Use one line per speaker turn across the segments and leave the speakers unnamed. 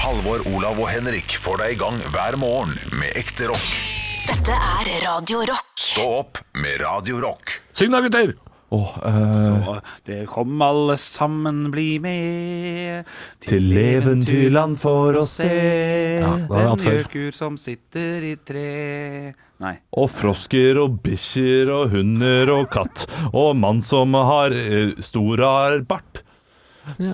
Halvor, Olav og Henrik får deg i gang hver morgen med ekte rock.
Dette er Radio Rock.
Stå opp med Radio Rock.
Syng da, gutter!
Åh, eh,
Og det kom alle sammen, bli med
til eventyrland for å se
da har vi hatt
En
før.
gjøkur som sitter i tre Nei.
Og frosker og bikkjer og hunder og katt Og mann som har eh, stor rar bart ja.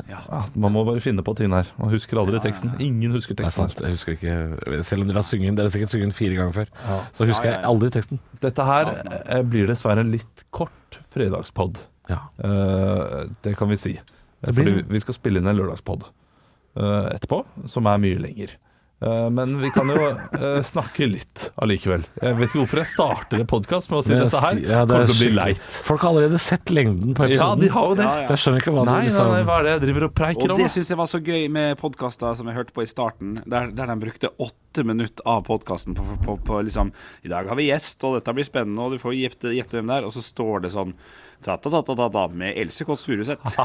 Man må bare finne på ting her Man husker aldri teksten Ingen husker
Det er
teksten
sant. Jeg husker ikke Selv om dere har sunget den, dere har sikkert sunget den fire ganger før, så husker jeg aldri teksten.
Dette her eh, blir dessverre en litt kort fredagspodd
Ja.
Eh, Det kan vi si
Det blir
Fordi
det.
vi skal spille inn en lørdagspodd eh, etterpå Som er mye lenger Eh, men vi kan jo eh, snakke litt allikevel Jeg vet ikke hvorfor jeg starter en podcast med å si
Men jeg
dette her
sier- ja, det er
Kommer til å bli
skikkelig-
leit
Folk har allerede sett lengden på
Ja,
episoden.
de har jo det.
Så jeg skjønner ikke hva
Nei,
de
nei,
liksom
nei, hva er det jeg driver og
Og
preiker om?
det
da?
syns jeg var så gøy med podkaster som jeg hørte på i starten, der, der de brukte åtte minutter av podkasten på, på, på liksom I dag har vi gjest, og dette blir spennende, og du får gjette gjette hvem det er. Og så står det sånn ta-ta-ta-ta-ta med Else Kåss Furuseth.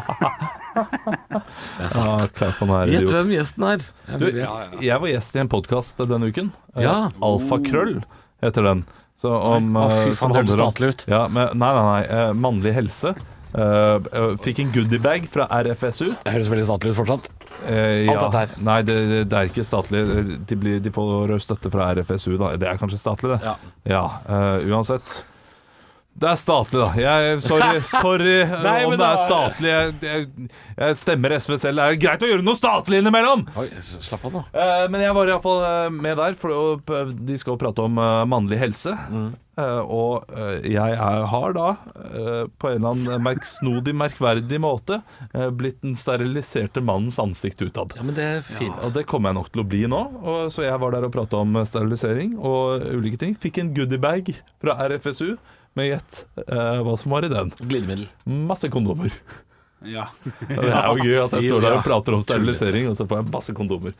Ja, klar på den her,
Gjett
idiot.
hvem gjesten er! Jeg
Du,
vet.
jeg var gjest i en podkast denne uken. Eh,
Ja.
Alfakrøll heter den. Så om,
Å, fy
eh, som
faen, hørtes
handler om-
statlig ut.
Ja, men, nei, nei, nei. eh, Mannlig helse. Eh, eh, fikk en goodiebag fra RFSU.
Det høres veldig statlig ut fortsatt.
Eh,
Alt dette her.
Nei, det, det- det er ikke statlig. De, blir, de får støtte fra RFSU, da. Det er kanskje statlig, det.
Ja.
eh, uansett. Det er statlig, da. Jeg, sorry sorry
Nei,
om
men
det er
da-
statlig. Jeg, jeg, jeg stemmer SV selv. Det er greit å gjøre noe statlig innimellom!
Oi, slapp av nå.
Eh, men jeg var iallfall med der, for å- p- de skal jo prate om eh, mannlig helse. Eh, og eh, jeg er, har da, eh, på en eller annen merksnodig, merkverdig måte, eh, blitt den steriliserte mannens ansikt utad.
Ja, men det er fint.
Og det kommer jeg nok til å bli nå, og, så jeg var der og prata om eh, sterilisering og ulike ting. Fikk en goodiebag fra RFSU med gjett eh, hva som var i den.
Glidemiddel.
Masse kondomer.
Ja.
Og Det er jo gøy at jeg står der
Ja.
og prater om sterilisering, og så får jeg masse kondomer.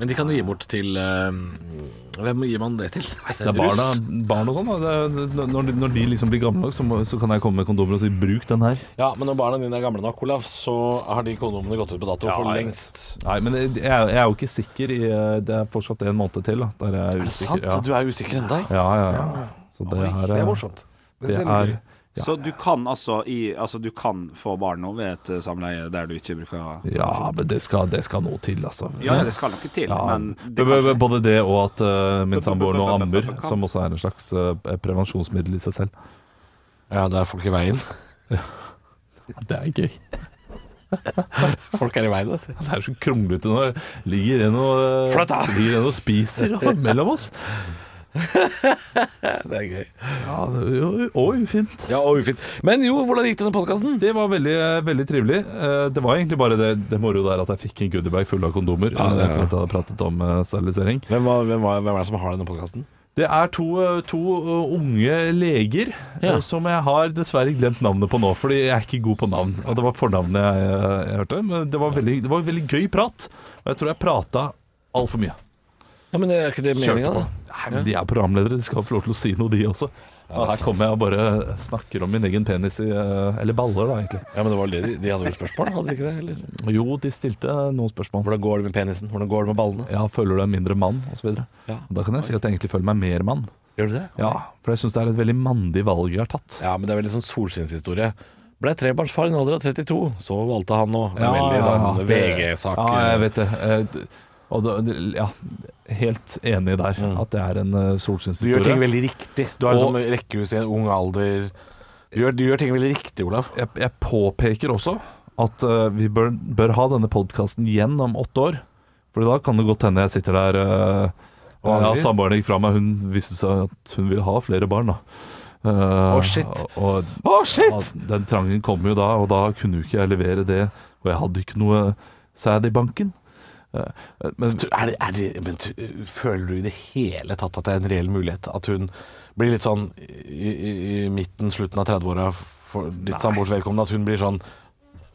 Men de kan jo gi bort til eh, Hvem gir man det til?
Det er barna, barn og sånn. da. Det er- Når, de- når de liksom blir gamle nok, så, må, så kan jeg komme med kondomer og si 'bruk den her'.
Ja, men når barna dine er gamle nok, Olav, så har de kondomene gått ut på dato for
jeg
lengst.
Nei, men jeg, jeg er jo ikke sikker. I, eh, det er fortsatt en måned til. Da, der jeg er,
Er det
usikker.
sant? Du
Ja.
er usikker ennå?
ja, ja, ja. Så det her
Det er morsomt. Det
Det
ser litt
er,
gøy.
Så du kan altså, i, altså Du kan få barn nå ved et eh, samleie der du ikke bruker
ja, men det skal, det skal noe til, altså.
Ja, det skal noe til,
Ja,
men det
b- b-
kanskje,
både det og at eh, min samboer nå ammer,
Kan-
som også er en slags eh, prevensjonsmiddel i seg selv.
Ja, det er folk i veien.
Det er gøy.
Folk er i veien, vet du.
Det er så kronglete når det ligger en og,
Flatt, da.
ligger en og spiser da, mellom oss.
Det er gøy.
Ja, det er Og ufint.
Ja, og ufint. Men jo, hvordan gikk denne podkasten?
Det var veldig, veldig trivelig. Eh, Det var egentlig bare det, det moro der at jeg fikk en goodiebag full av kondomer.
Ja, det er-
etter at jeg hadde pratet om eh, sterilisering
Hvem, var- hvem, var- hvem er det som har denne podkasten?
Det er to, eh, to eh, unge leger eh,
Ja.
som jeg har dessverre glemt navnet på nå, fordi jeg er ikke god på navn. Og det var fornavnet jeg, eh, jeg hørte. Men det var, veldig, det var veldig gøy prat. Og jeg tror jeg prata altfor mye.
Ja, men Er ikke det meninga, da?
Nei, men De er programledere, de skal få lov til å si noe, de også. Og her kommer jeg og bare snakker om min egen penis i eh, Eller baller, da, egentlig.
Ja, men det var det de, de hadde vel spørsmål? Hadde de ikke det? Eller?
Jo, de stilte noen spørsmål.
Hvordan går det med penisen? Hvordan går det med ballene?
Ja, føler du deg mindre mann, osv.
Ja.
Da kan jeg si at jeg egentlig føler meg mer mann.
Gjør du det?
Ja, For jeg syns det er et veldig mandig valg jeg har tatt.
Ja, men det er veldig sånn solskinnshistorie. Ble trebarnsfar i en alder av 32, så valgte han å Det er Veldig sånn
det-
VG-sak.
Ja, jeg vet det. Eh, d- Og da, d- ja, helt enig der, at det er en eh,
Du gjør ting
solskinnshistorie.
veldig riktig. Du har
Og-
sånn rekkehus i en ung alder. Du gjør, du gjør ting veldig riktig, Olav.
Jeg, jeg påpeker også at eh, vi bør, bør ha denne podkasten igjen om åtte år. For da kan det godt hende jeg sitter der eh,
Og
Ja,
angrer.
samboeren gikk fra meg. Hun viste seg at hun ville ha flere barn, da. Eh,
shit.
Og,
Å,
Ja, den trangen kom jo da, og da kunne jo ikke jeg levere det. Og jeg hadde ikke noe sæd i banken. Eh, Men
Er det, er det, men t- føler du i det hele tatt at det er en reell mulighet? At hun blir litt sånn i, i, i midten, slutten av 30-åra for ditt samboers vedkommende, at hun blir sånn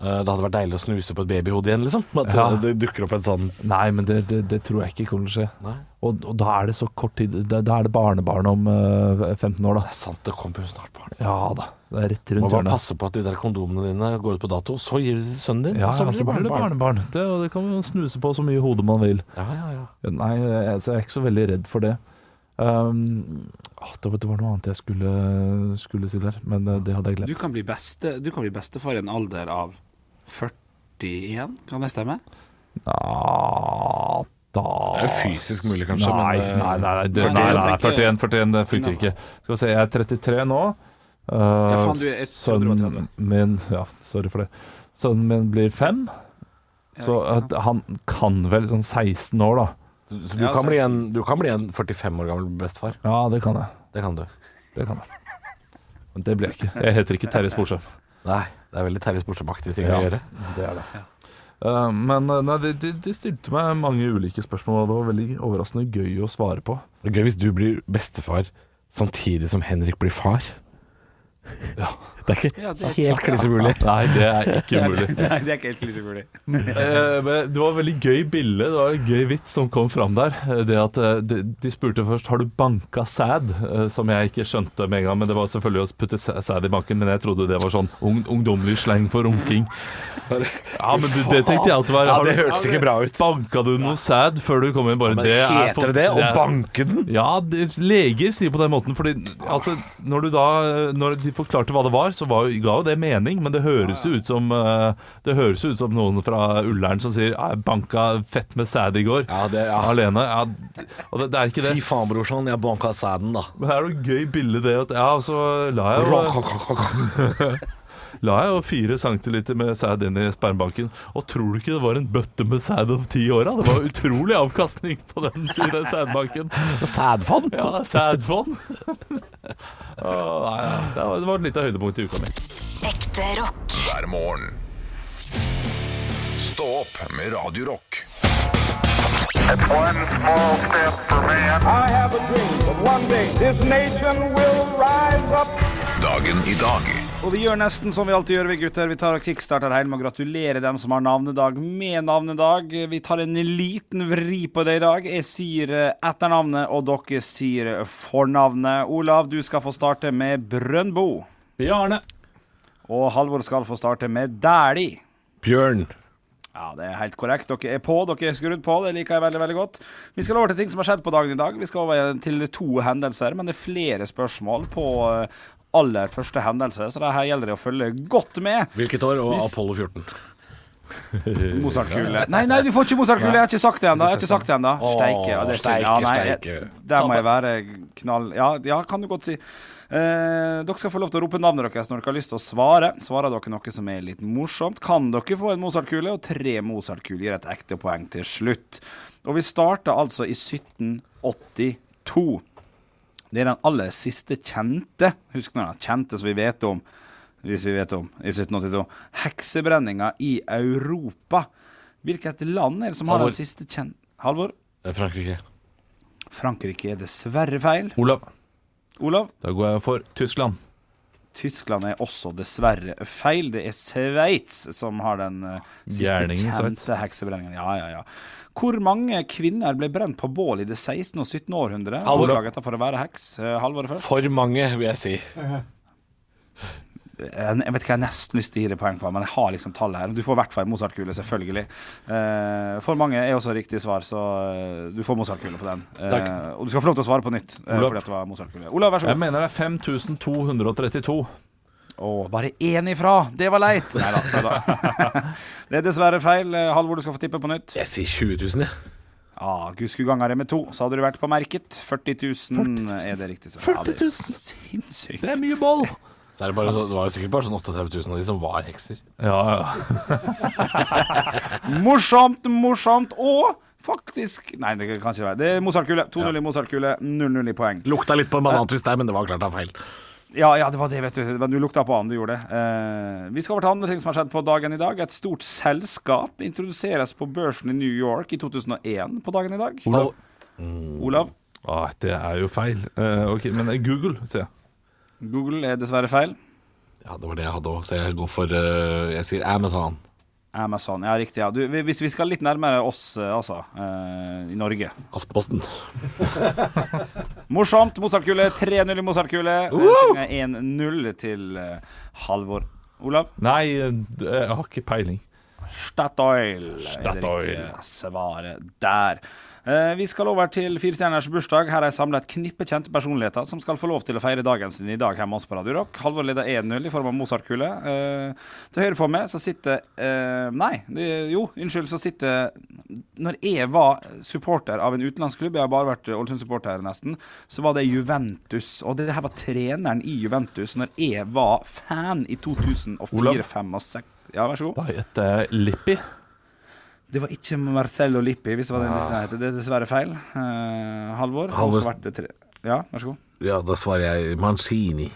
Eh, Det hadde vært deilig å snuse på et babyhode igjen, liksom. At
Ja.
eh, det dukker opp en sånn
Nei, men det, det, det tror jeg ikke kommer til å skje.
Nei.
Og, og da er det så kort tid Da, da er det barnebarn om eh, 15 år, da.
Sant, det kommer jo snart barn.
Ja da. Det er rett
Må
rundt
bare
hjørnet.
passe på at de der kondomene dine går ut på dato, så gir du det til sønnen din.
Ja,
og så
ja, så blir det barnebarn. Det, og det kan man snuse på så mye hode man vil.
Ja, ja, ja.
Nei, jeg, så jeg er ikke så veldig redd for det. Um, ah, det, var, det var noe annet jeg skulle, skulle si der, men eh, det hadde jeg
Du
glemt.
kan bli, beste, du kan bli bestefar i en alder av 41, kan det stemme?
Ah, da
Det er jo fysisk mulig, kanskje,
Nei,
men, eh,
nei, nei, nei, det,
Fordi
nei,
jeg
nei,
tenker-
41, 41, det funker ikke. Skal vi se, jeg er 33 nå. Eh,
faen, du er et-
sønnen
130.
min Ja, sorry for det. Sønnen min blir fem. Så
ikke sant.
at han kan vel sånn 16 år, da.
Så du,
Ja,
kan bli en,
16.
du kan bli en 45 år gammel bestefar.
Ja, det kan jeg.
Det kan du.
Det kan jeg. Men det ble jeg ikke. Jeg heter ikke Terje Sporsem.
Nei, det er veldig Terje Sportsem-aktige ting å
Ja.
gjøre.
Det er det. men eh, nei, de, de, de stilte meg mange ulike spørsmål, og det var veldig overraskende gøy å svare på.
Det er gøy hvis du blir bestefar samtidig som Henrik blir far. Det er ikke
Ja, det er
helt klissemulig.
Nei, det er ikke umulig.
Nei, det er ikke helt klissemulig.
Eh, men det var veldig gøy bilde, det var en gøy vits som kom fram der. Eh, Det at eh, de, de spurte først har du banka sæd, Eh, som jeg ikke skjønte med en gang. Men det var selvfølgelig å putte sæ- sæd i banken, men jeg trodde det var sånn ung, ungdommelig sleng for runking. Ja, men det, det tenkte jeg at det var.
Ja,
Har
det
du-
hørtes ikke bra ut.
Banka du noe sæd før du kom inn? Bare
Men
det er for-
heter det det å
er-
banke den?
Ja, det, leger sier på den måten Fordi altså, når, du da, når de forklarte hva det var Så var, jo- ga jo det mening Men det høres jo ut som eh, Det høres jo ut som noen fra Ullern som sier «Ah, Jeg banka fett med sæd i går
Ja, det- ja.
Alene ja, Og det, det er ikke det
Fy faen, brorsan, jeg banka sæden, da.
Men det er noe gøy bilde det at, Ja, og så la jeg jo
Nei,
la jeg jo fire centiliter med sæd inn i spermbanken. Og tror du ikke det var en bøtte med sæd om ti åra? Det var utrolig avkastning på den, i den sædbanken.
Sædfond?
Ja, sædfond. Åh, nei, ja. Det var- det var et lite høydepunkt i uka mi.
Ekte rock.
hver morgen. Stå opp med Radio Rock.
It's one small step for man.
I have a dream that one day this nation will rise up.
Dagen i dag
Og vi gjør nesten som vi alltid gjør, vi gutter. Vi tar og kickstarter hele med å gratulere dem som har navnedag med navnedag. Vi tar en liten vri på det i dag. Jeg sier eh, etternavnet, og dere sier eh, fornavnet. Olav, du skal få starte med Brøndbo.
Bjarne.
Og Halvor skal få starte med Dæhlie.
Bjørn.
Ja, det er helt korrekt. Dere er på, dere er skrudd på. Det liker jeg veldig veldig godt. Vi skal over til ting som har skjedd på dagen i dag. Vi skal over til to hendelser, men det er flere spørsmål på eh, aller første hendelse, så det her gjelder det å følge godt med.
Hvilket år? Og
Hvis-
Apollo 14.
Mozartkule. Nei, nei, du får ikke Mozartkule! Jeg har ikke sagt det ennå. Jeg har ikke sagt det ennå. Steike. ja, det er synd. Ja, nei, jeg- der må jeg være knall... Ja, ja kan du godt si. Eh, dere skal få lov til å rope navnet deres når dere har lyst til å svare. Svarer dere noe som er litt morsomt, kan dere få en Mozart-kule, og tre Mozart-kuler gir et ekte poeng til slutt. Og vi starter altså i 1782. Det er den aller siste kjente, husk nå den kjente som vi vet om, hvis vi vet om, i 1782, heksebrenninga i Europa. Hvilket land er det som har
Halvor.
den siste kjente Halvor?
Eh, Frankrike.
Frankrike er dessverre feil.
Olav.
Olav?
Da går jeg for Tyskland.
Tyskland er også dessverre feil. Det er Sveits som har den eh, siste
Gjerningen Sveits.
kjente heksebrenningen. Ja, ja, ja. Hvor mange kvinner ble brent på bål i det 16. og 17. århundre?
Halvor.
Anklaget for å være heks. Eh, Halvor er først.
For mange, vil jeg si.
Eh, Jeg jeg vet ikke, jeg har nesten lyst til å gi deg poeng på, men jeg har liksom tallet her. Du får i hvert fall Mozart-kule, selvfølgelig. Eh, for mange er også riktig svar, så eh, du får Mozart-kule på den. Eh,
Takk.
og du skal få lov til å svare på nytt, eh,
Olav.
fordi at det var Mozart-kule. Olav, vær så
Jeg
god.
mener det er 5232.
Å, bare én ifra! Det var leit! Nei da. nei da. det er dessverre feil. Eh, Halvor, du skal få tippe på nytt.
Jeg sier 20 000, jeg.
Ja, Gud skulle gange det med to, så hadde du vært på merket. 40 000 er det riktig svar. Ja, det er
40 000.
sinnssykt.
Det er mye boll!
Så er det, bare, så, det var jo sikkert bare sånn 38 000 av de som var hekser.
Ja, ja.
Morsomt, morsomt og faktisk Nei, det kan ikke være. Det er Mozart-kule. 2-0 i Mozart-kule, 0-0 i poeng.
Lukta litt på banantvist der, men det var klart det var feil.
Ja, ja, det var det, vet du. Men du lukta på han, du gjorde det. Eh, vi skal over til andre ting som har skjedd på dagen i dag. Et stort selskap introduseres på børsen i New York i 2001 på dagen i dag.
Olav.
Olav,
Ah, det er jo feil. Eh, ok, Men det er eh, Google, sier jeg.
Google er dessverre feil.
Ja, det var det jeg hadde òg, så jeg går for eh, Jeg sier Amazon.
Amazon, ja, riktig. Ja. Du, vi- hvis vi skal litt nærmere oss, eh, altså, eh, i Norge.
Aftenposten.
Morsomt. Mozartkule 3-0 i Mozartkule. Stillingen er 1-0 til eh, Halvor. Olav?
Nei, eh, jeg har ikke peiling.
Statoil er det
Statoil.
riktige svaret der. Eh, Vi skal over til Fire stjerners bursdag. Her er samla et knippe kjente personligheter som skal få lov til å feire dagen sin i dag hjemme hos oss på Radio Rock. Halvor leder 1-0 i form av Mozart-kule. Eh, Til høyre for meg så sitter eh, Nei, det- jo, unnskyld, så sitter Når jeg var supporter av en utenlandsklubb, jeg har bare vært Ålesund-supporter nesten, så var det Juventus. Og det her var treneren i Juventus når jeg var fan i 2004,
Olav.
5 og 6. Ja, vær så god.
Da heter jeg Lippi.
Det var ikke Marcello Lippi, hvis det
Ah.
var den listen jeg het. Det er dessverre feil. Eh, Halvor. har
Halvor.
også vært det tre... Ja, vær så god.
Ja, da svarer jeg Mancini.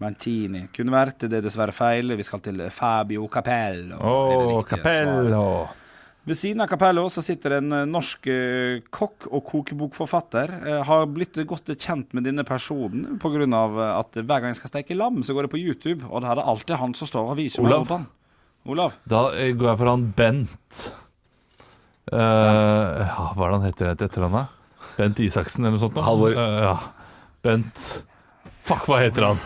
Mantini. Kunne vært det, er dessverre feil. Vi skal til Fabio Capello.
Å,
Det er det riktige svaret.
Capello.
Ved siden av Capello så sitter en eh, norsk eh, kokk og kokebokforfatter. Eh, Har blitt godt kjent med denne personen pga. eh, at hver gang jeg skal steke lam, så går jeg på YouTube, og da er det alltid han som står og viser meg
Olav.
hvordan. Olav.
Da eh, går jeg for han Bent. Eh, ja, hva er det han heter rett etter han, da? Bent Isaksen eller noe sånt? nå?
Halvor.
Eh, ja. Bent Fuck, hva heter han?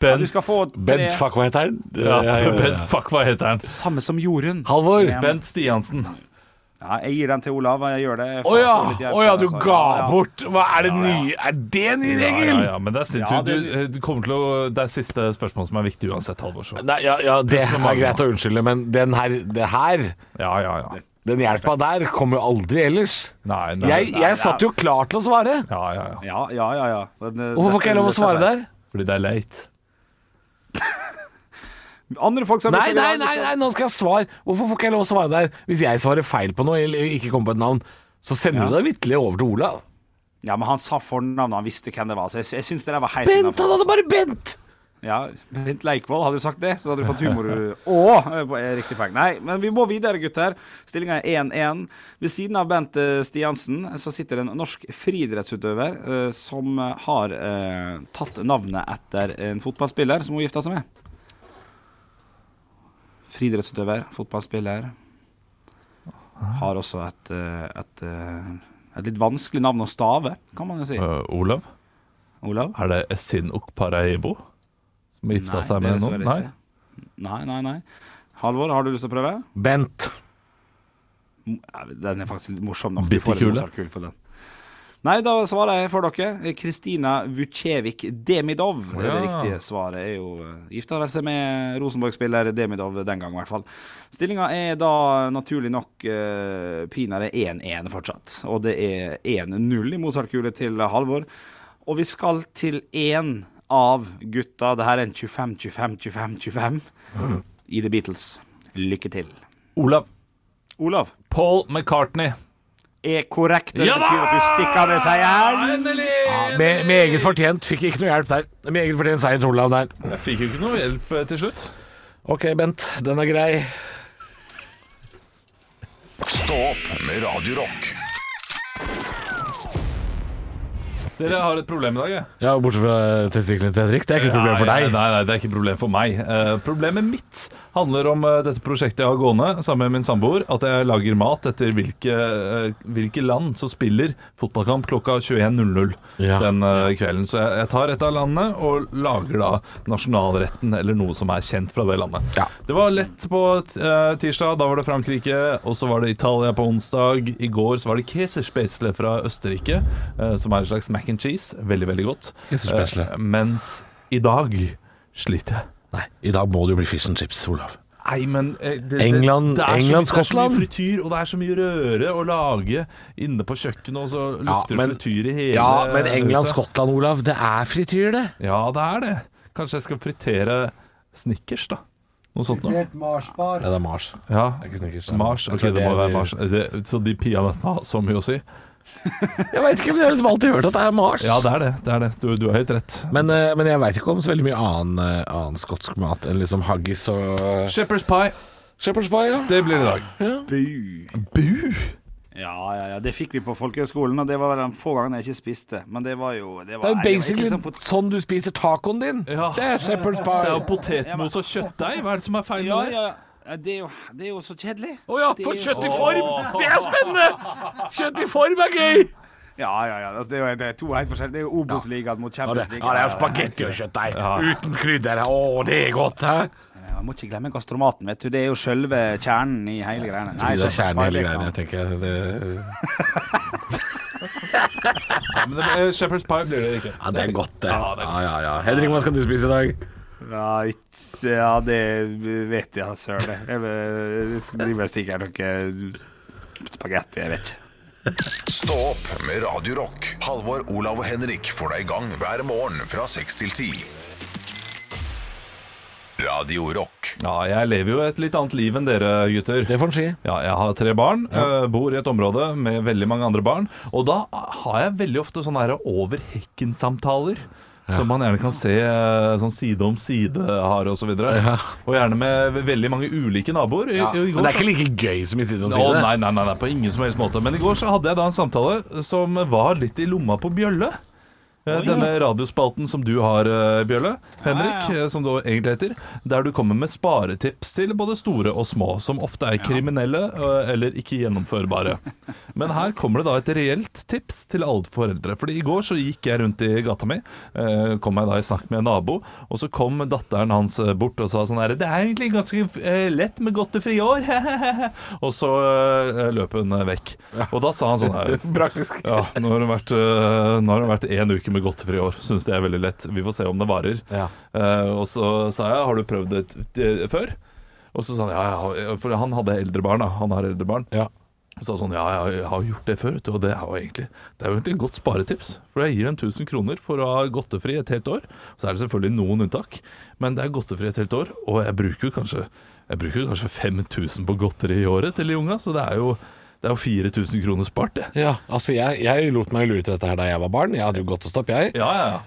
Ja,
Bent
du skal få tre
Bent, fuck, hva heter han? Eh,
ja,
Ja, ja, ja.
Bent, fuck, hva heter han?
samme som Jorunn.
Halvor!
Ja.
Bent Stiansen.
Ja, jeg gir den til Olav. og Jeg gjør det. Jeg
Å
får
ja!
litt hjelp
Å ja,
der,
du
altså.
ga
Ja, ja.
bort! Hva er det nye? Er det ny regel?
Ja, ja, ja, men det er snilt.
Ja,
Du-
det-
du, du kommer til å, det er siste spørsmål som er viktig uansett, Halvor. så.
Nei, ja, ja, det er greit å unnskylde, men den her, det her
Ja, ja, ja.
den hjelpa der kommer jo aldri ellers.
Nei, nei.
Jeg, jeg satt jo klar til å svare.
Ja, ja, ja.
Ja, ja, ja. ja. Men, eh,
Hvorfor får ikke jeg lov å
dette er
svare
det
der?
Fordi det er leit.
som er- Andre folk som
Nei, nei, nei, nei, nå skal jeg svare. Hvorfor får ikke jeg lov å svare der? Hvis jeg svarer feil på noe eller ikke kommer på et navn, så sender du deg vitterlig over til Olav.
Ja, men han sa fornavnet, han visste hvem det var. Så jeg, jeg syns det der var helt
Bent!
innenfor,
Han hadde
altså.
bare Bent!
Ja, Bent Leikvoll, hadde du sagt det, så hadde du fått humor og eh, på- eh, riktig poeng. Nei, men vi må videre, gutter. Stillinga er 1-1. Ved siden av Bent eh, Stiansen så sitter en norsk friidrettsutøver eh, som eh, har eh, tatt navnet etter en fotballspiller som hun gifta seg med. Friidrettsutøver, fotballspiller. Har også et, eh, et, eh, et litt vanskelig navn å stave, kan man jo si.
Eh, Olav,
Olav?
er det Esin Okparaibo som gifta seg
det er
med noen?
dessverre
Nei.
ikke. Nei, nei, nei. Halvor, har du lyst til å prøve?
Bent.
Mo- ja, Den er faktisk litt morsom nok.
Bitte
Du får en
kule.
Mozart-kul på den. Nei, da svarer jeg for dere. Kristina Vucevik Demidov. Det er Det
Ja.
riktige svaret er jo eh, gifta vel seg med Rosenborg-spiller Demidov den gang, i hvert fall. Stillinga er da naturlig nok uh, pinadø 1-1 fortsatt. Og det er 1-0 i Mozart-kule til Halvor. Og vi skal til én av gutta. Det her er en 25-25-25-25 i The Beatles. Lykke til.
Olav.
Olav.
Paul McCartney.
er korrekt. og Det betyr at du stikker av med seieren.
Med, med eget fortjent. Fikk ikke noe hjelp der. Med eget fortjent seier til Olav der.
Jeg fikk jo ikke noe hjelp eh, til slutt.
Ok, Bent. Den er grei.
Stå opp med Radio Rock.
Dere har et problem i dag, jeg.
Ja, bortsett fra testiklene til Henrik. Det er ikke et problem for
Nei,
deg.
Nei, nei, det er ikke problem for meg. Eh, problemet mitt handler om eh, dette prosjektet jeg har gående sammen med min samboer. At jeg lager mat etter hvilke, eh, hvilke land som spiller fotballkamp klokka 21.00
Ja.
den eh, kvelden. Så jeg, jeg tar et av landene og lager da nasjonalretten eller noe som er kjent fra det landet.
Ja.
Det var lett på t- eh, tirsdag. Da var det Frankrike, og så var det Italia på onsdag. I går så var det Käserspätzle fra Østerrike, eh, som er en slags mac and cheese. Veldig, veldig godt.
Käserspätzle.
Eh, Mens i dag sliter jeg.
Nei, I dag må det jo bli fish and chips, Olav.
Nei, men eh, det,
England-
det, det er så mye-
England, Skottland?
Det er så mye frityr, og det er så mye røre å lage inne på kjøkkenet, og så lukter det frityr i hele
ja, men
huset.
England-Skottland, Olav. Det er frityr, det.
Ja, det er det. Kanskje jeg skal fritere Snickers, da. Noe sånt noe.
Ja, det er Mars.
Ja.
ikke Snickers.
Mars.
Jeg
Ok,
tror
det må
det-
være Mars. Det, så de peanøttene har så mye å si.
Jeg veit ikke, men jeg har liksom alltid hørt at det er Mars.
Ja, det er det. det, er det. Du, du har helt rett.
men, eh, men jeg veit ikke om så veldig mye annen, eh, annen skotsk mat enn liksom haggis og
Shepherd's pie,
Shepherd's pie, ja.
det blir det i dag.
Bu.
Bu!
Ja, ja, ja, det fikk vi på folkehøyskolen, og det var vel de få gangene jeg ikke spiste. Men det var jo Det,
Det
var,
er jo
nei, det var ikke
basically
sånn pot-
sånn du spiser tacoen din.
liksom Ja.
Det er shepherd's
Det
pie.
er jo potetmos og kjøttdeig. Hva er det som er feil
ja,
med det?
ja, ja, det er jo, det er jo så kjedelig.
Å ja,
Det
for
er jo-
kjøtt i form! Det er spennende! Kjøtt i form er gøy!
Ja, ja, ja. Altså, det, er jo, det er to helt forskjellige. Det er jo Obos-ligaen mot
Ja, det,
Champions League.
ja, det er spagetti og kjøttdeig uten krydder. Å, det er godt, hæ?
Ja, må ikke glemme gastromaten, vet du. Det er jo sjølve kjernen i hele greiene. Nei,
Det er
så-
kjernen i hele greia, jeg tenker. Det,
Ja, men det, eh, Shepherd's pie blir det ikke.
ja, det er godt, det. Ja, ja, ja. Henrik, hva skal du spise i dag?
Ja, ikke- ja, det vet jeg søren. Jeg vet- Det blir vel sikkert noe spagetti, jeg vet ikke.
Stå opp med Radio Rock. Halvor, Olav og Henrik får deg i gang hver morgen fra 6 til 10. Radio Rock.
Ja, jeg lever jo et litt annet liv enn dere, gutter.
Det får en si.
Ja, jeg har tre barn, eh, bor i et område med veldig mange andre barn, og da har jeg veldig ofte sånne her over hekken-samtaler. Som man gjerne kan se eh, sånn side om side har og så videre.
Ja.
Og gjerne med veldig mange ulike naboer. I, i går
Men det er
så-
ikke like gøy som i Side om
Å,
side.
nei, nei, nei, nei, på ingen som helst måte. Men i går så hadde jeg da en samtale som var litt i lomma på Bjølle. Eh, Denne radiospalten som du har, eh, Bjølle, Henrik, eh, som du egentlig heter. Der du kommer med sparetips til både store og små, som ofte er kriminelle eh, eller ikke gjennomførbare. Men her kommer det da et reelt tips til alle foreldre. Fordi i går så gikk jeg rundt i gata mi, eh, kom jeg da i snakk med en nabo, og så kom datteren hans eh, bort og sa sånn her Det er egentlig ganske eh, lett med godtefrie år. og så eh, løp hun eh, vekk. Og da sa han sånn her
Praktisk.
ja, nå har det vært, øh, nå har det vært en uke med godtefri år. Syns det er veldig lett. Vi får se om det varer.
Ja.
Eh, og så sa jeg har du prøvd det t- t- før? Og så sa han ja, ja, for han hadde eldre barn. da, han har eldre barn.
Ja.
Så sa han sånn, ja, ja, jeg har gjort det før, vet du, og det er jo egentlig Det er jo egentlig et godt sparetips. For jeg gir dem 1000 kroner for å ha godtefri et helt år. Så er det selvfølgelig noen unntak, men det er godtefri et helt år, og jeg bruker jo kanskje Jeg bruker jo kanskje 5000 på godteri i året til de unga, så det er jo, det er jo 4000 kroner spart, det.
Ja, altså jeg, jeg lot meg lure til dette her da jeg var barn. Jeg hadde jo godtestopp, jeg.
Ja, ja, ja.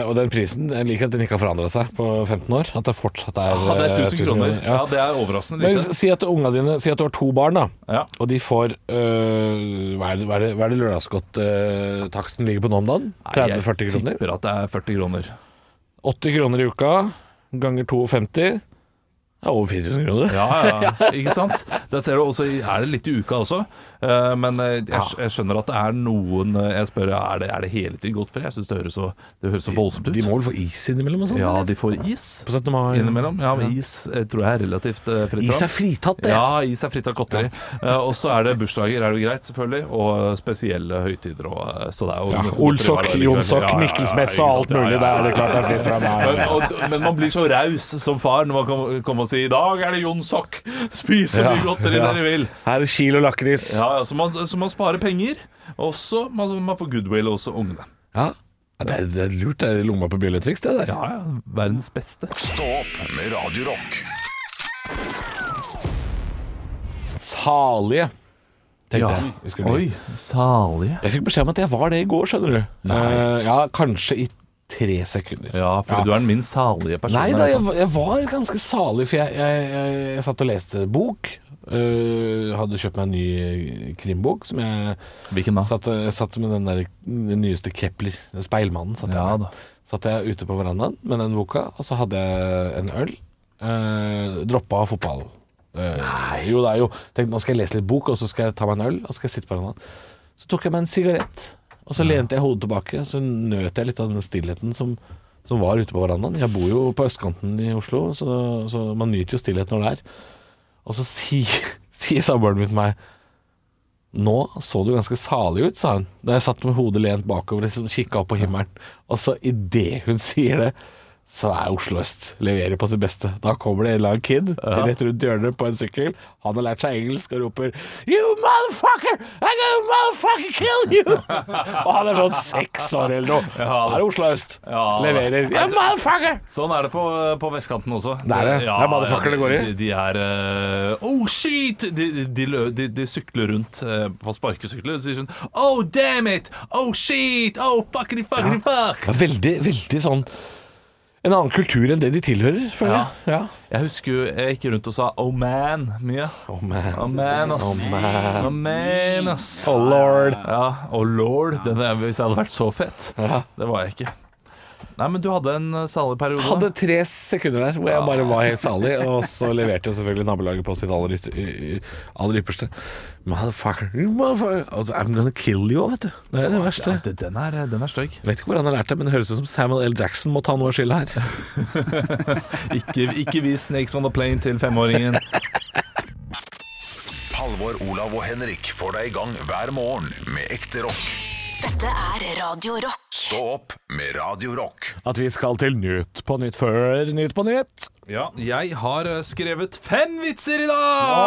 Eh, og den prisen jeg liker at den ikke har forandra seg på 15 år. At det fortsatt er
Ja, det er
eh,
1000 kroner.
Ja.
Ja, det er overraskende
Men
lite.
s- si at unga dine Si at du har to barn, da.
Ja.
Og de får øh, Hva er det, hva er det, hva er det lørdagsgodttaksten ligger på nå om dagen? 30-40
Jeg
kroner?
tipper at det er 40 kroner.
80 kroner i uka ganger 52 er over 4000 kroner.
Ja, ja, ja. ikke sant? Der ser du også, er det litt i uka også. Eh, Men eh, jeg, skj- jeg skjønner at det er noen eh, Jeg spør ja, er det er det hele tiden godt for deg. Jeg syns det høres så, det høres så voldsomt ut.
De må vel få is innimellom og sånn?
Ja,
eller?
de får is
På 17. mai.
innimellom. Ja, men is eh, tror jeg er relativt eh, fritt.
Is
fram.
er fritatt, det.
Ja, is er fritt av godteri. Eh, og så er det bursdager, er det jo greit, selvfølgelig. Og eh, spesielle høytider og eh, så det er jo
Ja,
nesten
Olsok,
godteri hver dag likevel.
Jonsok,
sånn- Ja, ja, ja, ja,
Mikkelsmesse
ikke
og
sant?
alt
Ja,
mulig.
ja,
Det
ja,
er det klart det er fritt
Men,
fram.
og, men man blir så raus som far når man kan komme og si I dag er det Jon Sokk! Spis så mye godteri dere vil!
Her er kilo lakris.
Ja, ja, så, man, så man sparer penger. Også man, man får goodwill også ungene.
Ja. Det, er, det er lurt. Det er lomma på bjølletriks, det der.
Ja, ja, verdens beste.
Stå opp med Radio Rock.
Salige, tenkte jeg. vi skulle bli.
Oi, salige.
Jeg fikk beskjed om at jeg var det i går, skjønner du. Eh, ja, kanskje i tre sekunder.
Ja, for
Ja.
du er den minst salige personen.
Nei
jeg
da,
vet
jeg,
om.
var- jeg var ganske salig, for jeg, jeg, jeg, jeg satt og leste bok. Eh, hadde kjøpt meg en ny krimbok, som jeg
Hvilken da?
satt, jeg satt med den, der, den nyeste Kepler, den speilmannen. Satt jeg,
Ja
med.
da.
satt jeg ute på verandaen med den boka, og så hadde jeg en øl. Uh, droppa fotball. Eh, jo da, jo. Tenkte nå skal jeg lese litt bok, og så skal jeg ta meg en øl, og så skal jeg sitte på verandaen. Så tok jeg meg en sigarett, og så lente jeg hodet tilbake, så nøt jeg litt av den stillheten som som var ute på verandaen. Jeg bor jo på østkanten i Oslo, så, så man nyter jo stillhet når det er. Og så sier, sier samboeren min til meg Nå så du ganske salig ut, sa hun. Da jeg satt med hodet lent bakover og liksom kikka opp på himmelen. Og så idet hun sier det, så er Oslo øst. Leverer på sitt beste. Da kommer det en eller annen kid rett rundt hjørnet på en sykkel. Han har lært seg engelsk og roper You motherfucker! I'm gonna motherfucking kill you! og han er sånn seks år eller noe.
Ja.
Da er det Oslo øst.
Ja. altså,
Leverer. Ja, motherfucker!
Sånn er det på, på vestkanten også.
Det er det. Det er motherfucker det går i.
De, de er eh, Oh, shit! De, de, de, lø- de, de sykler rundt eh, på sparkesykler og sier sånn Oh, damn it! Oh, shit! Oh, fuckity fuckity fuck!
Ja, veldig, veldig sånn En annen kultur enn det de tilhører, føler
Ja.
jeg. Ja.
Jeg husker jo jeg gikk rundt og sa 'oh man' mye.
Oh, man.
Oh man, ass.
Oh, man.
Oh man, ass.
Oh, lord.
Ja, oh lord. Den er, hvis jeg hadde vært så fett. Det var jeg ikke. Nei, men du hadde en eh, salig periode.
Hadde tre sekunder der hvor jeg bare var helt salig, og så leverte jo selvfølgelig nabolaget på sitt aller, yt- y- y- aller ypperste. Motherfucker, you motherfucker altså, I'm gonna kill you, vet du. Det er det verste.
Ja, det- den er, den er stygg.
Jeg vet ikke hvor han har lært det, men det høres ut som Samuel L. Jackson må ta noe av skylda her.
Ikke, ikke vis 'Snakes on the Plane' til femåringen.
Halvor, Olav og Henrik får deg i gang hver morgen med ekte rock.
Dette er Radio Rock.
Stå opp med Radio Rock.
At vi skal til Nytt på nytt før Nytt på nytt.
Ja, jeg har eh, skrevet fem vitser i dag!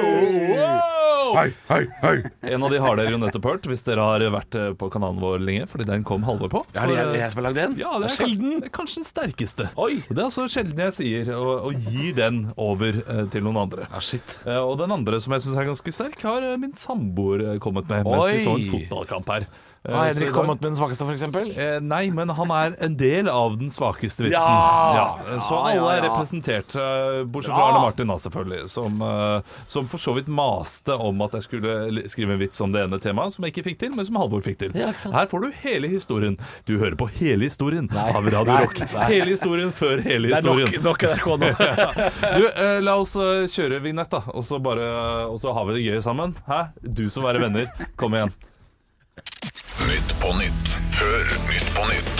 Wow!
Hei, hei, hei.
En av de har dere jo nettopp hørt, hvis dere har vært eh, på kanalen vår lenge. Fordi den kom Halvor på.
Er det jeg, jeg som har lagd den?
Ja, det er
sjelden.
Kanskje, det er kanskje den sterkeste. Og Det er altså sjelden jeg sier og, og gir den over eh, til noen andre. Eh, og den andre som jeg syns er ganske sterk, har eh, min samboer eh, kommet med mens vi så en
Oi.
fotballkamp her. Eh,
Har
så i
Henrik
dag-
kommet med den svakeste, for eksempel?
Eh, nei, men han er en del av den svakeste vitsen.
Ja!
Ja, så alle er representert, eh, bortsett fra Arne Martin, da, selvfølgelig. Som, eh, som for så vidt maste om at jeg skulle l- skrive en vits om det ene temaet, som jeg ikke fikk til, men som Halvor fikk til.
Ja, ikke sant.
Her får du hele historien. Du hører på hele historien av Radio
Nei.
Rock. Hele historien før hele
Det er
historien.
nok, nok NRK nå.
Du, eh, la oss eh, kjøre vignett, da, og så, bare, eh, og så har vi det gøy sammen. Hæ? Du som være venner. Kom igjen.
Nytt på nytt før Nytt på nytt.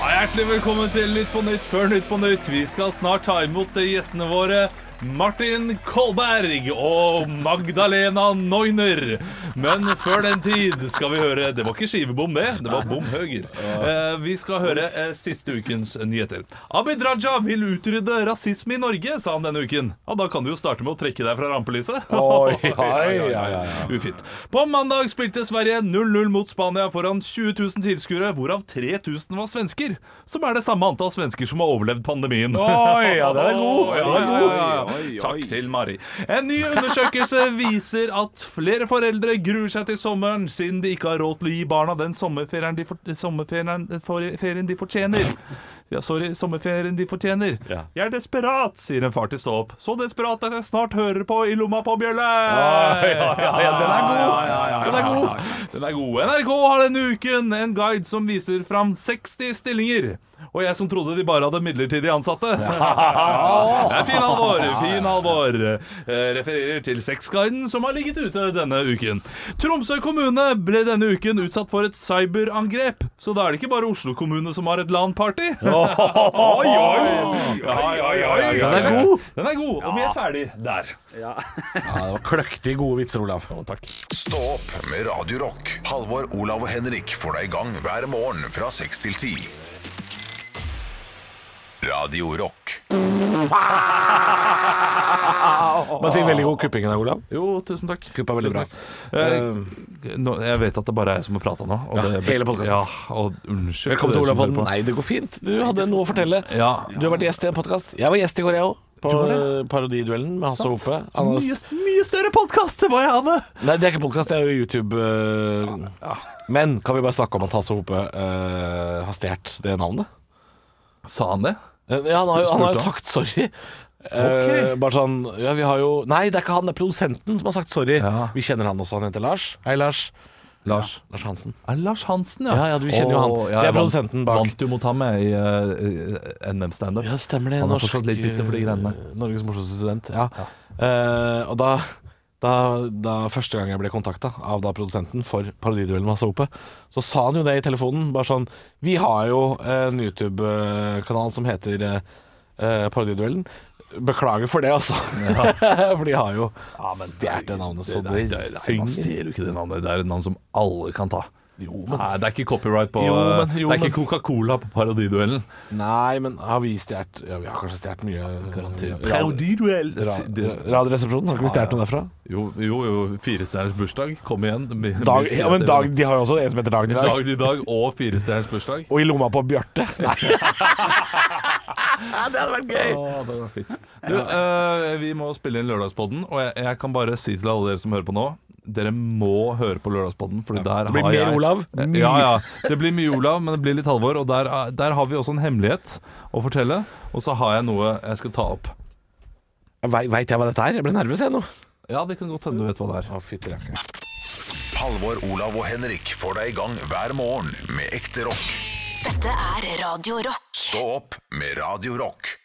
Ja, Hjertelig velkommen til Nytt på Nytt før Nytt på Nytt. Vi skal snart ta imot gjestene våre Martin Kolberg og Magdalena Neuner. Men før den tid skal vi høre Det var ikke skivebom, det. Det var bom høger. Eh, vi skal høre eh, siste ukens nyheter. Abid Raja vil utrydde rasisme i Norge, sa han denne uken. Ja, Da kan du jo starte med å trekke deg fra rampelyset.
Oi, oi, oi, oi.
Ufint. På mandag spilte Sverige 0-0 mot Spania foran 20 000 tilskuere, hvorav 3000 var svensker. Som er det samme antall svensker som har overlevd pandemien.
Oi, ja, den er god.
Ja, ja, ja, ja. Takk til Mari. En ny undersøkelse viser at flere foreldre gruer seg til sommeren, siden de ikke har råd til å gi barna den sommerferien de, for, sommerferien, for, ferien de fortjener. Ja, sorry, sommerferien de fortjener.
Ja.
Jeg er desperat, sier en far til Stå opp. Så desperat at jeg snart hører på I lomma på bjølle!
Den er god.
Den er god. Den er god. NRK har denne uken en guide som viser fram 60 stillinger. Og jeg som trodde de bare hadde midlertidig ansatte. Det er fin alvor. Fin alvor. Eh, Refererer til Sexguiden som har ligget ute denne uken. Tromsø kommune ble denne uken utsatt for et cyberangrep, så da er det ikke bare Oslo kommune som har et LAN-party. Oi, oi, oi, oi.
Den er god.
Den er god, og vi er ferdig der.
Ja, det var kløktig gode vitser, Olav. takk.
Stå opp med Radio Rock. Halvor, Olav og Henrik får deg i gang hver morgen fra 6 til 10. Radio Rock.
Bare si veldig god kupping der, Olav.
Jo, tusen takk.
Kuppa veldig bra.
Eh, nå, jeg vet at det bare er jeg som har prata nå. og
Ja,
det-
hele podcasten.
Ja, og unnskyld.
Velkommen til
dere som
Olav Podden.
hører på.
Nei, det går fint. Du hadde noe å fortelle.
Ja.
Du har vært gjest i en podkast. Jeg var gjest i går, jeg òg. På eh, Parodiduellen med Hasse og Hope. Han har-
Mye, mye større podkast enn hva jeg hadde!
Nei, det er ikke podkast, det er jo YouTube. eh, Men kan vi bare snakke om at Hasse og Hope eh, har stjålet det navnet?
Sa han det?
Eh, Ja, han har jo, han har jo
Spurte han.
sagt sorry. Eh, bare sånn Ja, vi har jo Nei, det er ikke han, det er produsenten som har sagt sorry.
Ja.
Vi kjenner han også, han heter Lars. Hei, Lars.
Lars.
Lars Hansen.
Er det Lars Hansen, ja.
Ja, ja, du kjenner jo han.
Åh, ja,
Det er
jeg vant-
produsenten bak.
Vant jo mot ham jeg, i eh, NM standup.
Ja, det stemmer det.
Han er
Norsk,
fortsatt litt bitter for de greiene der.
eh, Norges morsomste student. Ja. Eh, og da, da, da første gang jeg ble kontakta av da produsenten for Parodiduellen med Hasse Hope, så sa han jo det i telefonen. Bare sånn Vi har jo en YouTube-kanal som heter eh, eh, Parodiduellen. Beklager for det, altså. for de har jo stjålet det navnet, så
Nei,
det
det, det, man
synger.
stjeler jo ikke det navnet. Det er et navn som alle kan ta. Nei, det er ikke copyright på eh,
Jo, men- jo,
Det er
men-
ikke Coca-Cola på parodiduellen.
Nei, men har vi stjålet Ja, vi har kanskje stjålet mye. Radio-
Parodiduell!
Ra- Radioresepsjonen, har ikke vi stjålet noe derfra?
Jo, jo, jo firestjerners bursdag. Kom igjen. Med-
Dag,
med-
ja, men dag, de har jo også en som heter Dagen i dag.
Dagen i dag og firestjerners bursdag.
Og i lomma på Bjarte. Nei. det hadde vært gøy!
Å, det var fint. Du, eh, vi må spille inn Lørdagspodden, og jeg, jeg kan bare si til alle dere som hører på nå dere må høre på Lørdagspodden. Fordi der
Det blir
har
mer
jeg,
Olav.
Eh, Ja, ja. Det blir mye Olav, men det blir litt Halvor. Og der, er- der har vi også en hemmelighet å fortelle. Og så har jeg noe jeg skal ta opp.
Veit jeg hva dette er? Jeg ble nervøs jeg nå.
Ja, det kan godt hende du vet hva det er.
Halvor, Olav og Henrik får deg i gang hver morgen med ekte rock.
Dette er Radio Rock.
Stå opp med Radio Rock.